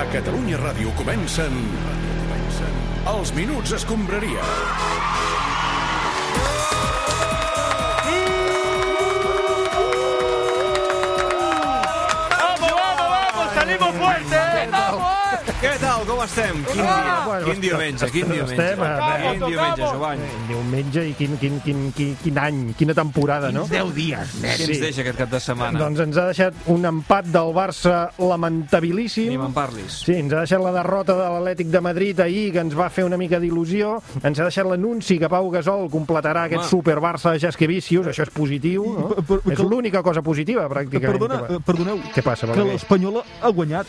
A Catalunya Ràdio comencen... comencen Els Minuts Escombraria. ¡Vamos, vamos, vamos! ¡Salimos fuertes! eh? Què tal? Com estem? Quin, dia, Bueno, quin diumenge, quin estem, Doncs diumenge. estem, a veure. Quin diumenge, Joan. Diumenge i quin, quin, quin, quin, quin any, quina temporada, no? 10 dies. Què Sí. ens deixa aquest cap de setmana? Doncs ens ha deixat un empat del Barça Ni lamentabilíssim. me'n parlis. Sí, ens ha deixat la derrota de l'Atlètic de Madrid ahir, que ens va fer una mica d'il·lusió. Ens ha deixat l'anunci que Pau Gasol completarà aquest Home. Super Barça de Jasquevicius. Això és positiu, no? I, per- per- és l'única cosa positiva, pràcticament. Perdona, que va- eh, perdoneu, Què passa, que Balaguer? l'Espanyola ha guanyat.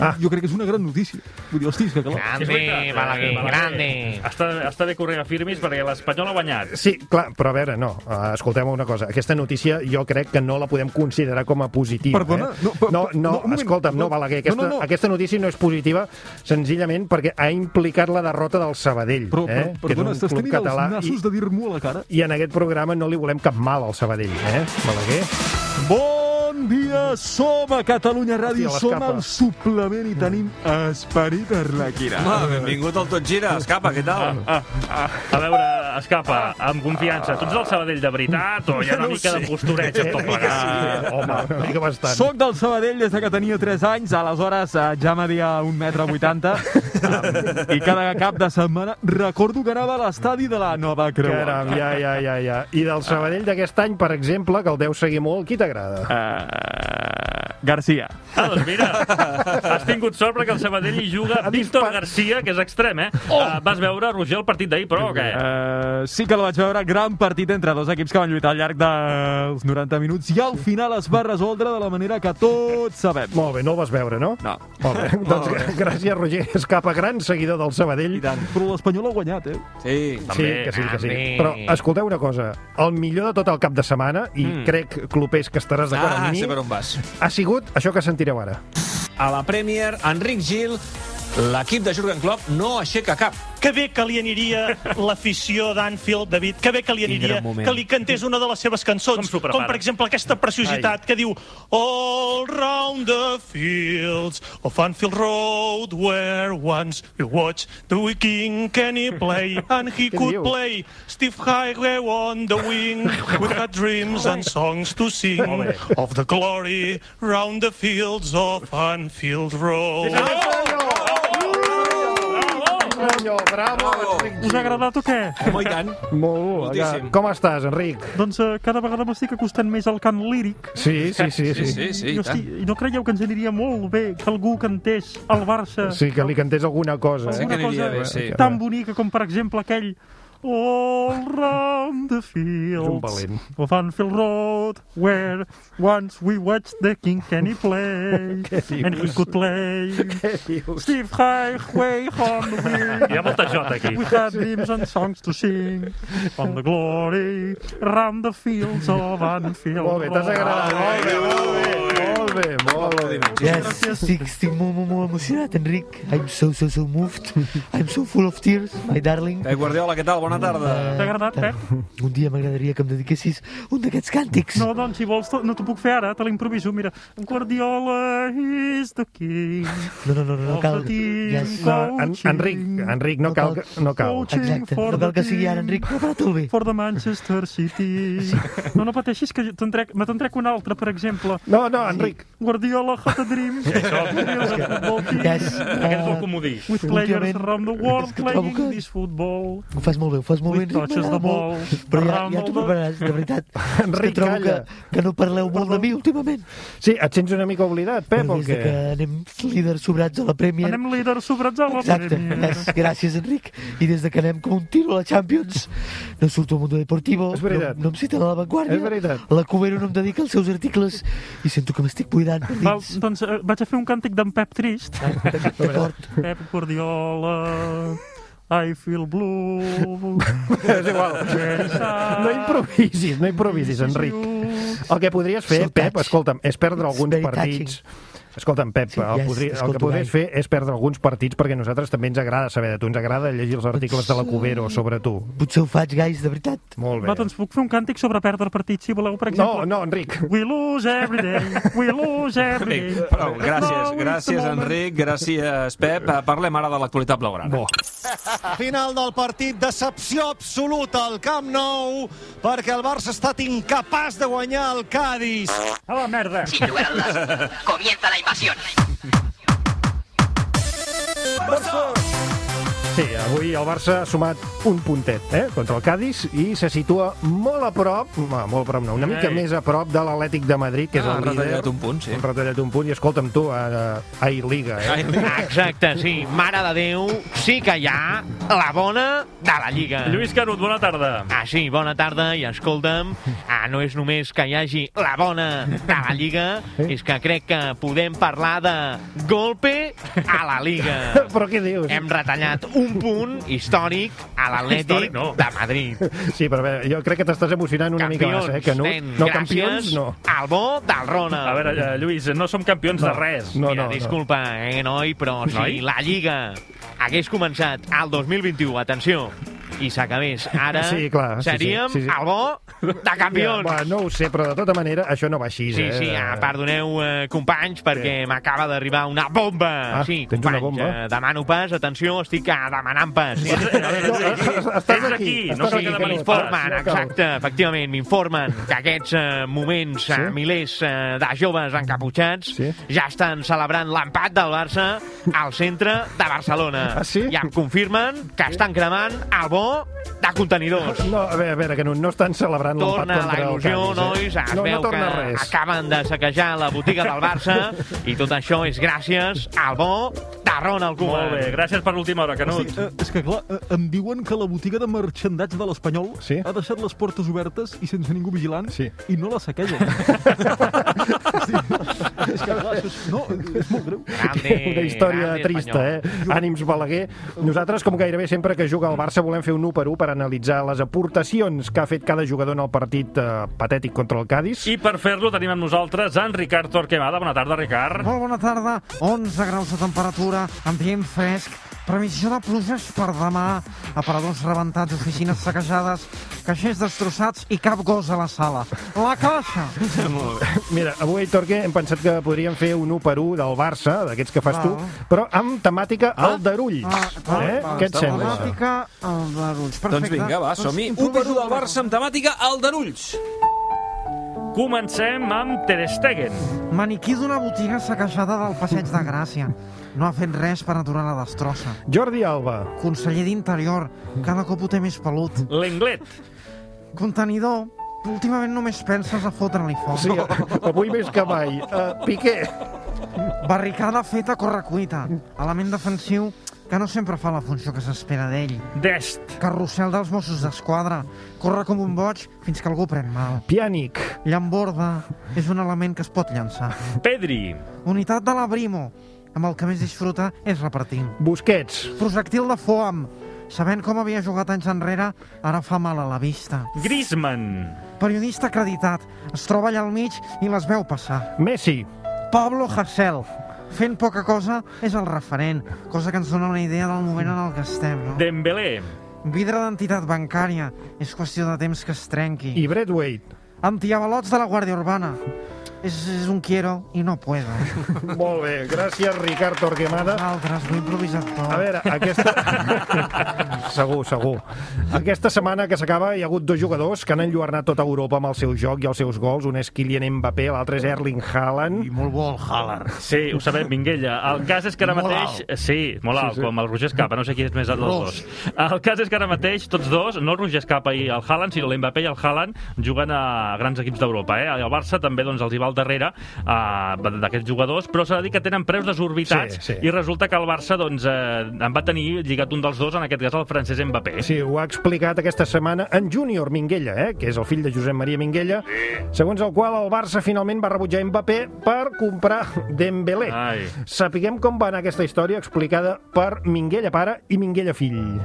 Ah. Jo crec que és una gran notícia. Vull dir, hosti, és que clar... Sí, és veritat, eh, Balaguer. Està, està bé corrent a firmis perquè l'Espanyol ha guanyat. Sí, clar, però a veure, no, eh, escoltem una cosa. Aquesta notícia jo crec que no la podem considerar com a positiva. Perdona, eh? no, per- no, per- no, no, un no moment, escolta'm, no, no, Balaguer, no, aquesta, no, no. aquesta notícia no és positiva senzillament perquè ha implicat la derrota del Sabadell, Però, eh? però, perdona, que és estàs un club tenint català. els nassos I, de dir-m'ho a la cara. I en aquest programa no li volem cap mal al Sabadell, eh, Balaguer? Bon dia, som a Catalunya Ràdio, Hòstia, som l'escapa. al suplement i tenim esperit Arlequina. Home, benvingut al Tot Gira. Escapa, què tal? Ah, A veure, escapa, amb confiança. Tu ets del Sabadell de veritat o hi ha una No ho mica sé. de postureig en tot plegat? home, una mica bastant. Soc del Sabadell des de que tenia 3 anys, aleshores eh, ja media 1,80 metre 80, i cada cap de setmana recordo que anava a l'estadi de la Nova Creu. Caram, ja, ja, ja, ja. I del Sabadell d'aquest any, per exemple, que el deu seguir molt, qui t'agrada? Eh, Garcia. Ah, doncs mira, has tingut sort perquè el Sabadell hi juga Víctor Garcia, que és extrem, eh? Oh! Ah, vas veure, Roger, el partit d'ahir, però o què? Uh, sí que la vaig veure, gran partit entre dos equips que van lluitar al llarg dels 90 minuts i al final es va resoldre de la manera que tots sabem. Molt bé, no el vas veure, no? No. Molt bé. doncs gràcies, Roger Escapa, gran seguidor del Sabadell. I tant. Però l'Espanyol ha guanyat, eh? Sí. Sí, També, que sí, que sí. també. Però escolteu una cosa, el millor de tot el cap de setmana, i mm. crec, Clopés, que estaràs d'acord Ah, amb mi, sé per on vas. ha sigut això que sentireu ara. A la Premier, Enric Gil, l'equip de Jurgen Klopp no aixeca cap. Que bé que li aniria l'afició d'Anfield, David, que bé que li Tindrà aniria un moment. que li cantés una de les seves Com cançons, s'ho prepara. com per exemple aquesta preciositat Ai. que diu All round the fields of Anfield Road where once you watch the king Kenny play and he Què could diu? play Steve Highway on the wing with had dreams and songs to sing of the glory round the fields of Anfield Road. Bravo! Senyor, bravo, Bravo. Enric. Us ha agradat o què? Home, i tant. Molt bé. Moltíssim. Com estàs, Enric? Doncs eh, cada vegada m'estic acostant més al cant líric. Sí, sí, sí. Sí, sí, sí, I, i tant. hosti, I no creieu que ens aniria molt bé que algú cantés al Barça Sí, que li cantés alguna cosa. Sí Eh? que alguna aniria cosa bé, sí. tan bonica com, per exemple, aquell All round the un fields valent. of Anfield Road where once we watched the King Kenny play and he could play Steve Highway on the wing Hi ha molta jota aquí. We had dreams and songs to sing on the glory round the fields of Anfield. Molt bé, t'has agradat. eh? Molt bé, molt bé, molt bé, molt bé. Yes, estic, estic molt, molt, molt emocionat, Enric. I'm so, so, so moved. I'm so full of tears, my darling. Eh, Pep Eh, Guardiola, què tal? Bona tarda. T'ha agradat, Pep? Un dia m'agradaria que em dediquessis un d'aquests càntics. No, doncs, si vols, te- no t'ho puc fer ara, te l'improviso. Mira, Guardiola is the king no, no, no, no, no of cal. the team Yes. No, en, Enric, Enric, no cal, que- no cal. Coaching Exacte, for no cal the que sigui ara, team. Enric, prepara-te'l bé. For the Manchester City. No, no pateixis, que jo te'n trec, me te'n trec un altre, per exemple. No, no, Enric. Guardiola had a dream. Guardiola had a football team. Yes. Aquest és el eh, comodí. With players Últimament, around the és world que trobo playing que- this football. Ho fas molt bé, ho fas molt Vuit bé. Enric, touches m'agrada de molt. ball, Però ja, ja Ronaldo. t'ho prepararàs, de veritat. És que Enric, trobo que, calla. que no parleu molt de mi últimament. Sí, et sents una mica oblidat, Pep, Però o des de què? que anem líders sobrats a la Premier, Anem líder sobrats a la Exacte, Premier. yes, gràcies Enric i des de que anem com un tiro a la Champions no surto al Mundo Deportivo És no, veritat. no em citen a la Vanguardia És veritat. la Cubero no em dedica els seus articles i sento que m'estic buidant per Val, dins doncs eh, vaig a fer un càntic d'en Pep Trist. d'acord Pep Guardiola, I feel blue. És igual. No improvisis, no improvisis, Enric. El que podries fer, Soldats. Pep, escolta'm, és perdre alguns Very partits Escolta'm, Pep, Sí, el, ja és- podri, el escolto que podries Blai. fer és perdre alguns partits perquè a nosaltres també ens agrada saber de tu, ens agrada llegir els articles de la Cubero sobre tu. Potser ho faig, guys, de veritat. Molt Va, bé. doncs puc fer un càntic sobre perdre partits, si voleu, per No, exemple. no, Enric. We lose every day, we lose every Enric, day. prou. No, Gràcies, it's the gràcies, moment. Enric, gràcies, Pep. Eh, Parlem ara de l'actualitat blaugrana. Bo. Final del partit, decepció absoluta al Camp Nou, perquè el Barça ha estat incapaç de guanyar el Cádiz. A la merda. Comienza la invasión. Sí, avui el Barça ha sumat un puntet eh, contra el Cádiz i se situa molt a prop, no, molt a prop no, una mica Ei. més a prop de l'Atlètic de Madrid, que és Ah, el han líder. retallat un punt, sí. Han retallat un punt i escolta'm tu, a, a, Liga, eh? Ai, Exacte, sí. Mare de Déu, sí que hi ha la bona de la Lliga. Lluís Canut, bona tarda. Ah, sí, bona tarda i escolta'm, ah, no és només que hi hagi la bona de la Lliga, és que crec que podem parlar de golpe a la Lliga. Però què dius? Hem retallat un punt històric a l'Atlètic Històric, no. de Madrid. Sí, però a veure, jo crec que t'estàs emocionant una mica massa, eh, Canut? nen, no, gràcies campions, no. al bo del Ronald. A veure, eh, Lluís, no som campions de res. No, Mira, no, no. disculpa, eh, noi, però si Noi? la Lliga hagués començat al 2021, atenció, i s'acabés ara, Sí, clar, sí, sí, seríem sí, sí. el bo de campions. Ja, va, no ho sé, però de tota manera això no va així, Sí, eh? sí, ah, perdoneu, eh, companys, perquè m'acaba d'arribar una bomba. Ah, sí, tens una companys, bomba? eh, demano pas, atenció, estic ah, demanant pas. Sí, No, estàs Ets aquí, aquí, no estàs sigui aquí, que Canut. demanis pas. M'informen, Ah, no cal. exacte, efectivament, m'informen que aquests eh, moments eh, Sí? milers eh, de joves encaputxats Sí? ja estan celebrant l'empat del Barça al centre de Barcelona. Ah, sí? I em confirmen que estan cremant el bo de contenidors. No, a veure, a veure, Canut, no estan celebrant l'empat Torna la contra el il·lusió, Cádiz, eh? nois, es no, veu no que torna res. acaben de saquejar la botiga del Barça i tot això és gràcies al bo de Ronald Koeman. Molt bé, gràcies per l'última hora, Sí, Canut. eh, és que clar, eh, em diuen que la botiga de marxandats de l'Espanyol Sí. ha deixat les portes obertes i sense ningú vigilant Sí. i no la saquegen. sí. És que clar, això és, no, és molt greu. Grande, Una història grande trista, espanyol. eh? Ànims Balaguer. Nosaltres, com gairebé sempre que juga el Barça, volem fer un 1 per 1 per analitzar les aportacions que ha fet cada jugador en el partit eh, patètic contra el Cádiz. I per fer-lo tenim amb nosaltres en Ricard Torquemada. Bona tarda, Ricard. Molt bona tarda, 11 graus de temperatura, ambient fresc, previsió de pluges per demà, aparadors rebentats, oficines saquejades, caixers destrossats i cap gos a la sala. La Eh? caixa! Eh? Mira, avui, Torque, hem pensat que podríem fer un 1 per 1 del Barça, d'aquests que fas tu, però amb temàtica Ah. Aldarull. Eh? Què et Està molt sembla? bé, això? Mica el barulls. Doncs vinga, va, som-hi. 1 per 1 del Barça amb temàtica Aldarulls. Comencem amb Ter Stegen. Maniquí d'una botiga saquejada del Passeig de Gràcia. No ha fet res per aturar la destrossa. Jordi Alba. Conseller d'Interior, cada cop ho té més pelut. L'Englet. Contenidor, últimament només penses a fotre-li foc. Sí, avui més que mai. Uh, Piqué. Barricada feta a correcuita. Element defensiu que no sempre fa la funció que s'espera d'ell. Dest. Carrusel dels Mossos d'Esquadra. Corre com un boig fins que algú pren mal. Pianic. Llamborda és un element que es pot llançar. Pedri. Unitat de la Brimo, amb el que més disfruta és repartint. Busquets. Projectil de foam, sabent com havia jugat anys enrere, ara fa mal a la vista. Griezmann. Periodista acreditat, es troba allà al mig i les veu passar. Messi. Pablo Hasél. Fent poca cosa és el referent, cosa que ens dona una idea del moment en el que estem, no? De... Dembélé. Vidre d'entitat bancària, és qüestió de temps que es trenqui. I... I Bradwaite. Antiavalots de la Guàrdia Urbana. És, és un quiero i no puedo. Molt bé, gràcies, Ricard Torquemada. Altres, vull improvisar tot. A veure, aquesta... segur, segur. Aquesta setmana que s'acaba hi ha hagut dos jugadors que han enlluernat tota Europa amb el seu joc i els seus gols. Un és Kylian Mbappé, l'altre és Erling Haaland. I molt bo el Haaland. Sí, ho sabem, Minguella. El cas és que ara Molt mateix... Sí, molt alt, com el Roger Escapa, no sé qui és més alt dels Ros. dos. El cas és que ara mateix tots dos, no el Roger Escapa i el Haaland, sinó l'Mbappé i el Haaland, juguen a grans equips d'Europa. Eh? El Barça també doncs, els hi va al darrere eh, d'aquests jugadors, però s'ha de dir que tenen preus desorbitats Sí, sí. i resulta que el Barça doncs, eh, en va tenir lligat un dels dos, en aquest cas el francès Mbappé. Sí, ho ha explicat aquesta setmana en Júnior Minguella, eh, que és el fill de Josep Maria Minguella, segons el qual el Barça finalment va rebutjar Mbappé per comprar Dembélé. Ai. Sapiguem com va anar aquesta història explicada per Minguella pare i Minguella fill.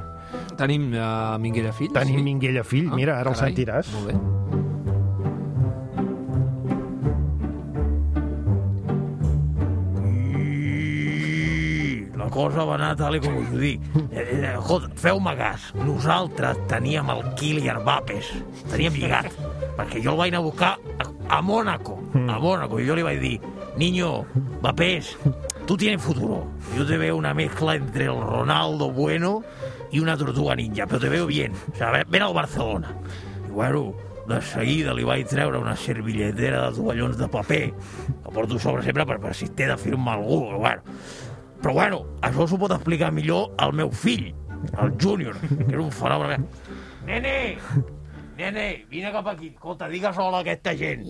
Tenim uh, Minguella Fills. Ah, Tenim Minguella fill, mira, ara el carai, sentiràs. Molt bé. cosa va anar tal i com us ho dic. Eh, eh, joder, feu-me gas. Nosaltres teníem el Kylian Mbappés. Teníem lligat. perquè jo el vaig anar a buscar a, a Mónaco. A Mónaco. I jo li vaig dir, niño, Mbappés, tú tienes futuro. Yo te veo una mezcla entre el Ronaldo bueno y una tortuga ninja, però te veo bien. O sea, ven al Barcelona. I bueno, de seguida li vaig treure una servilletera de tovallons de paper, que porto a sobre sempre per, per si té de firmar algú. Però bueno, però bueno això s'ho pot explicar millor al meu fill, el Júnior, que era un fenomen. Nene, nene, vine cap aquí. Escolta, digues hola a aquesta gent.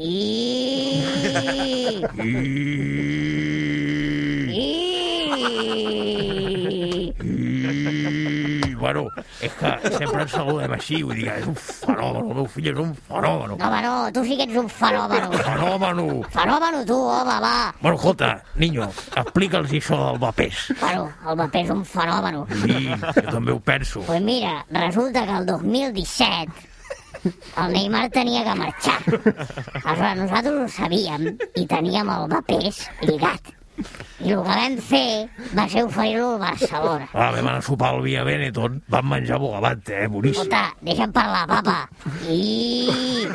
I, bueno, és que sempre ens saludem així, vull dir, que és un fenomen, el meu fill és un fenomen. No, home, no, tu sí que ets un fenòmeno. Fenòmeno. Fenòmeno tu, home, va. Bueno, escolta, niño, explica'ls això del Mbappés. Bueno, el paper és un fenòmeno. Sí, jo també ho penso. Pues mira, resulta que el 2017 el Neymar tenia que marxar. Aleshores, nosaltres ho sabíem i teníem el Mbappés lligat. I el que vam fer va ser oferir-lo al Barcelona. Ah, vam anar a sopar al Via Benetton, vam menjar bogavant, eh, boníssim. Escolta, deixa'm parlar, papa. I...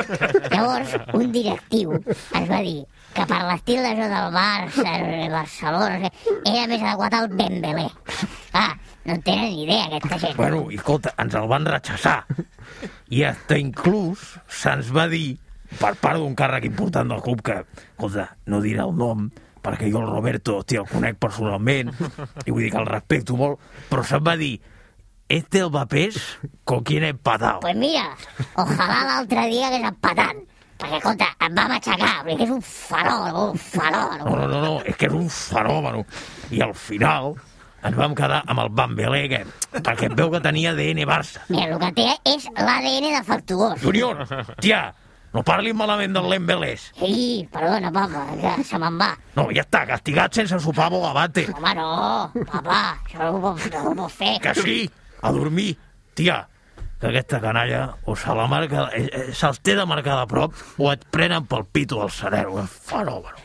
Llavors, un directiu ens va dir que per l'estil de joc del Barça, de Barcelona, no sé, era més adequat al Dembélé. Ah, no en tenen ni idea, aquesta gent. Bueno, i escolta, ens el van rechaçar. I hasta inclús se'ns va dir, per part d'un càrrec important del club, que, escolta, no dirà el nom, perquè jo el Roberto, hòstia, el conec personalment, i vull dir que el respecto molt, però se'm va dir, este el papés con quien he empatado. Pues mira, ojalà l'altre dia hagués empatat. Perquè, escolta, em va matxacar, perquè és un fenòmen, un fenòmen. No, no, no, no, és que és un fenomen. I al final ens vam quedar amb el Bambelé, que, perquè em veu que tenia DN Barça. Mira, el que té és l'ADN defectuós. Junior, tia, no parlis malament del Lembelés. Ei, perdona, papa, que se me'n va. No, ja està, castigat sense sopar bogavante. Home, no, papa, això no ho, pot- no ho pot fer. Que sí, a dormir. Tia, que aquesta canalla o se la marca, eh, eh, se'ls té de marcar de prop o et prenen pel pito del sereno. eh. És fenomen.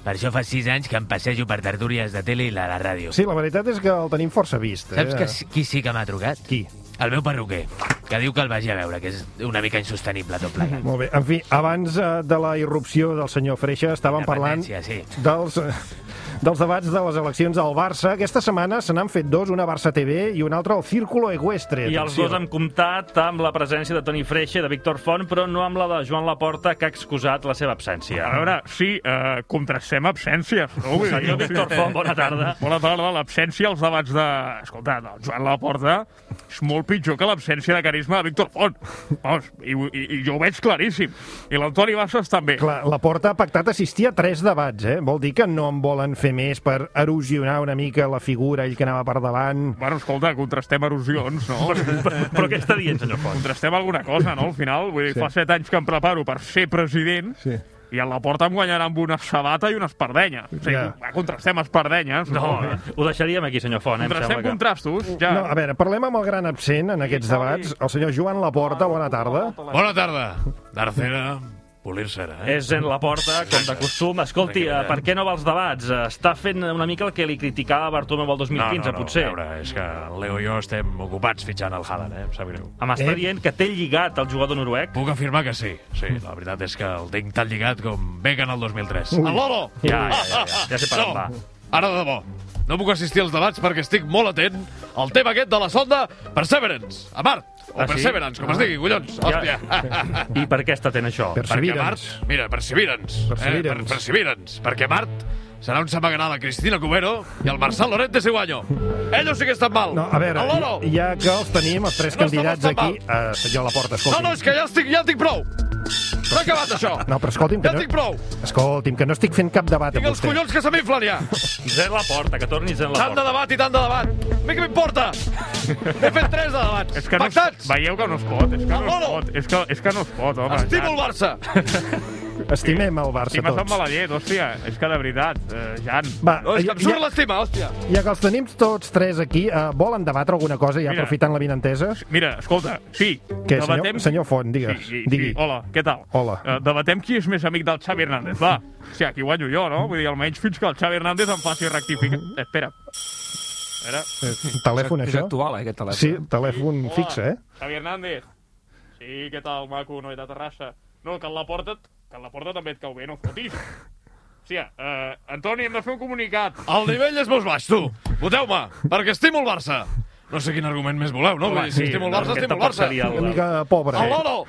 Per això fa sis anys que em passejo per tertúries de tele i la, la ràdio. Sí, la veritat és que el tenim força vist. Eh? Saps que, s- qui sí que m'ha trucat? Qui? El meu perruquer, que diu que el vagi a veure, que és una mica insostenible tot plegat. Mm-hmm. Molt bé. En fi, abans eh, de la irrupció del senyor Freixa estàvem parlant Independència, sí. dels, eh, dels debats de les eleccions al Barça. Aquesta setmana se n'han fet dos, una a Barça TV i una altra al Círculo Ecuestre. I els Atenció. dos han comptat amb la presència de Toni Freixa i de Víctor Font, però no amb la de Joan Laporta, que ha excusat la seva absència. A veure, sí, eh, contrastem absències. No? Vull dir, Senyor Víctor Font, bona tarda. Bona tarda. L'absència als debats de... Escolta, del Joan Laporta és molt pitjor que l'absència de carisma de Víctor Font. Vamos, i, i, i jo ho veig claríssim. I l'Antoni Bassas també. Clar, la Porta ha pactat assistir a tres debats, eh? Vol dir que no en volen fer més per erosionar una mica la figura, ell que anava per davant... Bueno, escolta, contrastem erosions, no? però, però què està dient, senyor Font? Contrastem alguna cosa, no? Al final, vull dir, Sí. sí. fa set anys que em preparo per ser president Sí. i a la porta em guanyarà amb una sabata i una espardenya. O sigui, Ja. va, contrastem espardenyes. No, ho deixaríem aquí, senyor Font, eh, em sembla Contrastem que... contrastos, ja. No, a veure, parlem amb el gran absent en aquests debats, el senyor Joan Laporta, bona tarda. Bona tarda. D'Arcena, polir-se ara, eh? És en la porta, com de costum. Escolti, eh, per què no va als debats? Eh, Està fent una mica el que li criticava Bartomeu el 2015, no, no, potser. A veure, és que el Leo i jo estem ocupats fitxant el Haaland, eh? Em sap greu. Em està dient que té lligat el jugador noruec? Puc afirmar que sí. Sí, la veritat és que el tinc tan lligat com Beckham el 2003. Ui. El Loro! Ja, ja, ja, ja. Ja sé per on va. Ara de debò. No puc assistir als debats perquè estic molt atent al tema aquest de la sonda Perseverance, a Mart. O Ah, sí? Perseverance, com Ah. es digui, collons. Ja. Hòstia. I per què està fent això? Perquè Mart, mira, Perseverance. Perseverance. Eh, per, Perseverance. Perquè Mart serà un samaganà de Cristina Cubero i el Marçal Loret de Seguanyo. Ells sí que estan mal. No, a veure, El Loro! ja que els tenim, els tres No candidats estava tan aquí... Uh, senyor Laporta, No, escolti. no, és que ja, estic, ja en tinc prou. S'ha Però acabat, això! No, però escolti'm... Que Ja no... tinc prou. Escolti'm, que no estic fent cap debat Tinc amb els vostè. collons que se m'inflen, ja! Zen la porta, que tornis zen la Tant de porta. debat i tant de debat! A mi què m'importa? He fet tres de debat. És que no es, veieu que no es pot, és que no es Manolo! pot, és que, és que no es pot, home. Estimo el Barça! Estimem el Barça Estima Sant tots. Malallet, hòstia, és que de veritat, eh, Jan. Va, No, és que em ja- surt l'estima, hòstia. Ja que els tenim tots tres aquí, eh, volen debatre alguna cosa, ja Mira. aprofitant la vinentesa? Mira, escolta, sí, Què, senyor, senyor Font, digues. Sí, sí, digui. sí. Hola, què tal? Hola. Eh, debatem qui és més amic del Xavi Hernández, va. O sigui, aquí guanyo jo, no? Vull dir, almenys fins que el Xavi Hernández em faci rectificar... Espera. Espera. Eh, Telèfon, És això? actual, eh, aquest telèfon. Sí, telèfon Hola, fix, eh? Xavi Hernández. Sí, què tal, maco, noi de Terrassa? No, que en la porta, que en la porta també et cau bé, no fotis. Hòstia, eh, Antoni, hem de fer un comunicat. El nivell és molt baix, tu. Voteu-me, perquè estimo el Barça. No sé quin argument més voleu, no? Home, Vull dir, si sí, estimo el no, Barça, aquest estimo el tampoc Barça. seria el- Una mica pobre. El Lolo!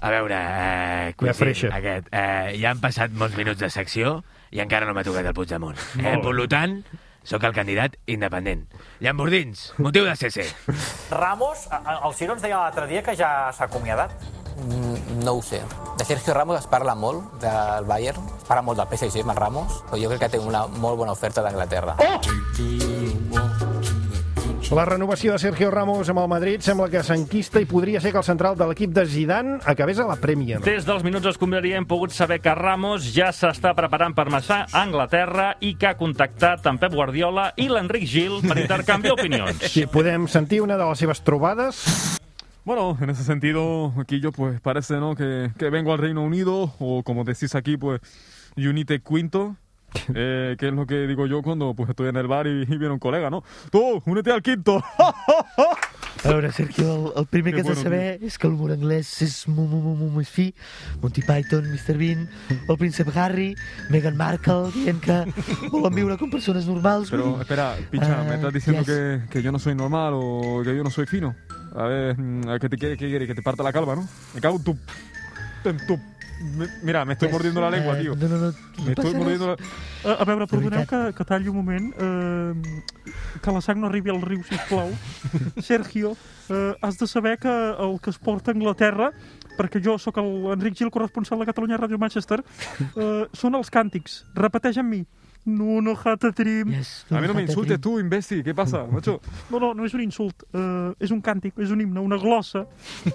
A veure, eh, coincidint, aquest, eh, ja han passat molts minuts de secció i encara no m'ha tocat el Puigdemont. Eh, per lo tant, sóc el candidat independent. Llambordins, motiu de CC. Ramos, a- el Ciro ens deia l'altre dia que ja s'ha acomiadat. Mm, No ho sé. De Sergio Ramos es parla molt del Bayern, es parla molt del PSG amb el Ramos, però jo crec que té una molt bona oferta d'Anglaterra. La renovació de Sergio Ramos amb el Madrid sembla que s'enquista i podria ser que el central de l'equip de Zidane acabés a la Premier. Des dels minuts escombraria hem pogut saber que Ramos ja s'està preparant per marxar a Anglaterra i que ha contactat amb Pep Guardiola i l'Enric Gil per intercanviar opinions. Sí, podem sentir una de les seves trobades. Bueno, en ese sentido, aquí yo pues parece, ¿no? Que, que vengo al Reino Unido, o como decís aquí, pues, Unite Quinto, eh, que es lo que digo yo cuando pues estoy en el bar y, y viene un colega, ¿no? Tú, únete al quinto. A veure, Sergio, el, el primer Qué que has de bueno, saber és que l'humor anglès és molt, molt, molt, molt més fi. Monty Python, Mr. Bean, el príncep Harry, Meghan Markle, dient que volen viure com persones normals. eh, Pero espera, picha, Ah, ¿me estás diciendo que, que yo no soy normal o que yo no soy fino? A ver, mm, a que te quiere, que quiere, que te parta la calva, ¿no? Me cago en tu... en tu- me- mira, me estoy mordiendo la lengua, tío. Ah, eh, No, no, no, Me estoy mordiendo la... A, a veure, perdoneu que, que talli un moment. Eh, que la sang no arribi al riu, si plau. Sergio, eh, has de saber que el que es porta a Anglaterra, perquè jo sóc el Enric Gil, corresponsal de Catalunya Ràdio Manchester, eh, són els càntics. Repeteix amb mi. No, no, hat a trim. Yes, A mí no me insultes tú, imbécil. ¿Qué pasa, macho? No, no, no és un insult. Uh, és un càntic, és un himne, una glossa,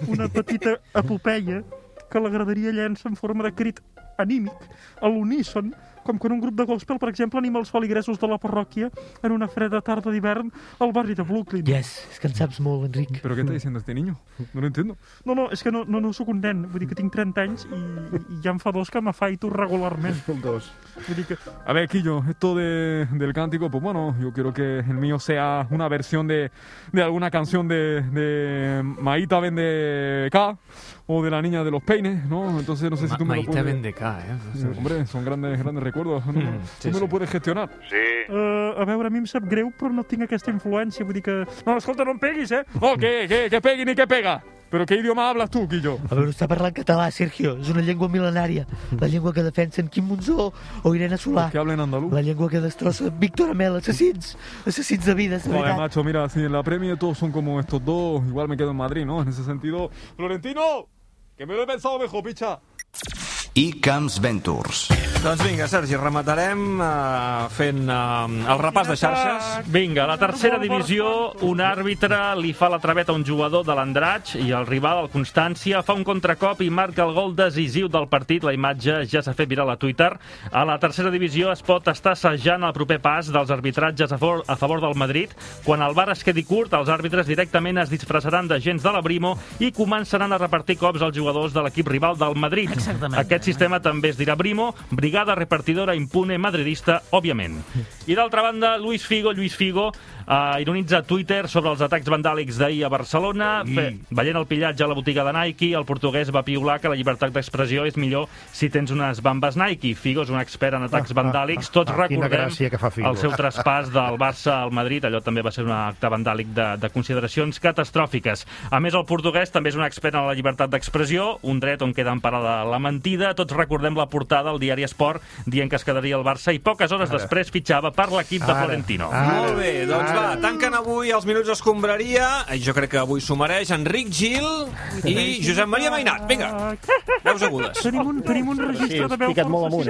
una petita epopeia que la graderia llença en forma de crit anímic, a l'uníson, com quan un grup de gospel, per exemple, anima els feligresos de la parròquia en una freda tarda d'hivern al barri de Brooklyn. Yes, és que en saps molt, Enric. Mm. ¿Pero qué está diciendo este niño? No lo entiendo. No, no, és que no, no, no sóc un nen, vull dir que tinc 30 anys i, i ja em fa dos que m'afaito regularment. Dos. Vull dir que A ver, Quillo, esto de, del cántico, pues bueno, yo quiero que el mío sea una versión de, de alguna canción de, de Maíta Vende K o de la niña de los peines, ¿no? Entonces no sé si tú me lo Maíta puedes... Vende K, ¿eh? Sí, Hombre, son grandes, grandes recuerdos. ¿no? Mm, tú sí, me sí. lo puedes gestionar. Sí. Uh, a veure, a mi em sap greu, però no tinc aquesta influència. Vull dir que... No, escolta, no em peguis, eh? Oh, que, que, que pegue ni que pega. Però què idioma hablas tu, Quillo? A veure, està parlant català, Sergio. És una llengua mil·lenària. La llengua que defensen Quim Monzó o Irene Solà. que hablen andalús. La llengua que destrossa Víctor Amel. Assassins. Assassins de vida, és de Joder, veritat. macho, mira, si en la Premier todos son como estos dos, igual me quedo en Madrid, ¿no? En ese sentido, Florentino, que me lo he pensado mejor, picha. I Camps Ventures. Doncs vinga, Sergi, rematarem eh, fent eh, el repàs de xarxes. Vinga, la tercera divisió, un àrbitre li fa la traveta a un jugador de l'Andratx i el rival, el Constància, fa un contracop i marca el gol decisiu del partit. La imatge ja s'ha fet viral a Twitter. A la tercera divisió es pot estar assajant el proper pas dels arbitratges a favor, a favor del Madrid. Quan el bar es quedi curt, els àrbitres directament es disfressaran d'agents de la Brimo i començaran a repartir cops als jugadors de l'equip rival del Madrid. Exactament. Aquest sistema també es dirà Brimo, Brigada Repartidora Impune Madridista, òbviament. I d'altra banda, Luis Figo, Luis Figo, eh, ironitza a Twitter sobre els atacs vandàlics d'ahir a Barcelona. Mm. I- Fe, veient el pillatge a la botiga de Nike, el portuguès va piular que la llibertat d'expressió és millor si tens unes bambes Nike. Figo és un expert en atacs Ah, ah, vandàlics. ah, Tots ah, quina recordem gràcia que fa Figo. el seu traspàs del Barça al Madrid. Allò també va ser un acte vandàlic de, de consideracions catastròfiques. A més, el portuguès també és un expert en la llibertat d'expressió, un dret on queda emparada la mentida. Tots recordem la portada al diari Esport dient que es quedaria al Barça i poques hores Ara. després fitxava per l'equip de Ara. Florentino. Ara. Molt bé, doncs va, Ah. va, tanquen avui els minuts escombraria. Jo crec que avui s'ho mereix Enric Gil i Josep Maria Mainat. Vinga, veus agudes. Tenim un, tenim un registre de veu Sí, eh?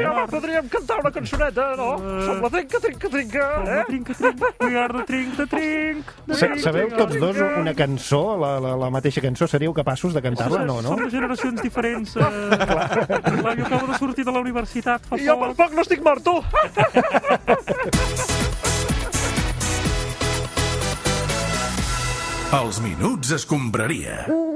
home, podríem cantar una cançoneta, no? Som la trinca, trinca, trinca, eh? Trinca, trinca, cuidar-te, trinca, trinca. Sa- Sabeu tots dos una cançó, la, la, la mateixa cançó? Seríeu capaços de cantar-la? No, no? Són de generacions diferents. Eh, clar, jo acabo de sortir de la universitat fa I jo per poc no estic mort, tu! Els minuts escombraria.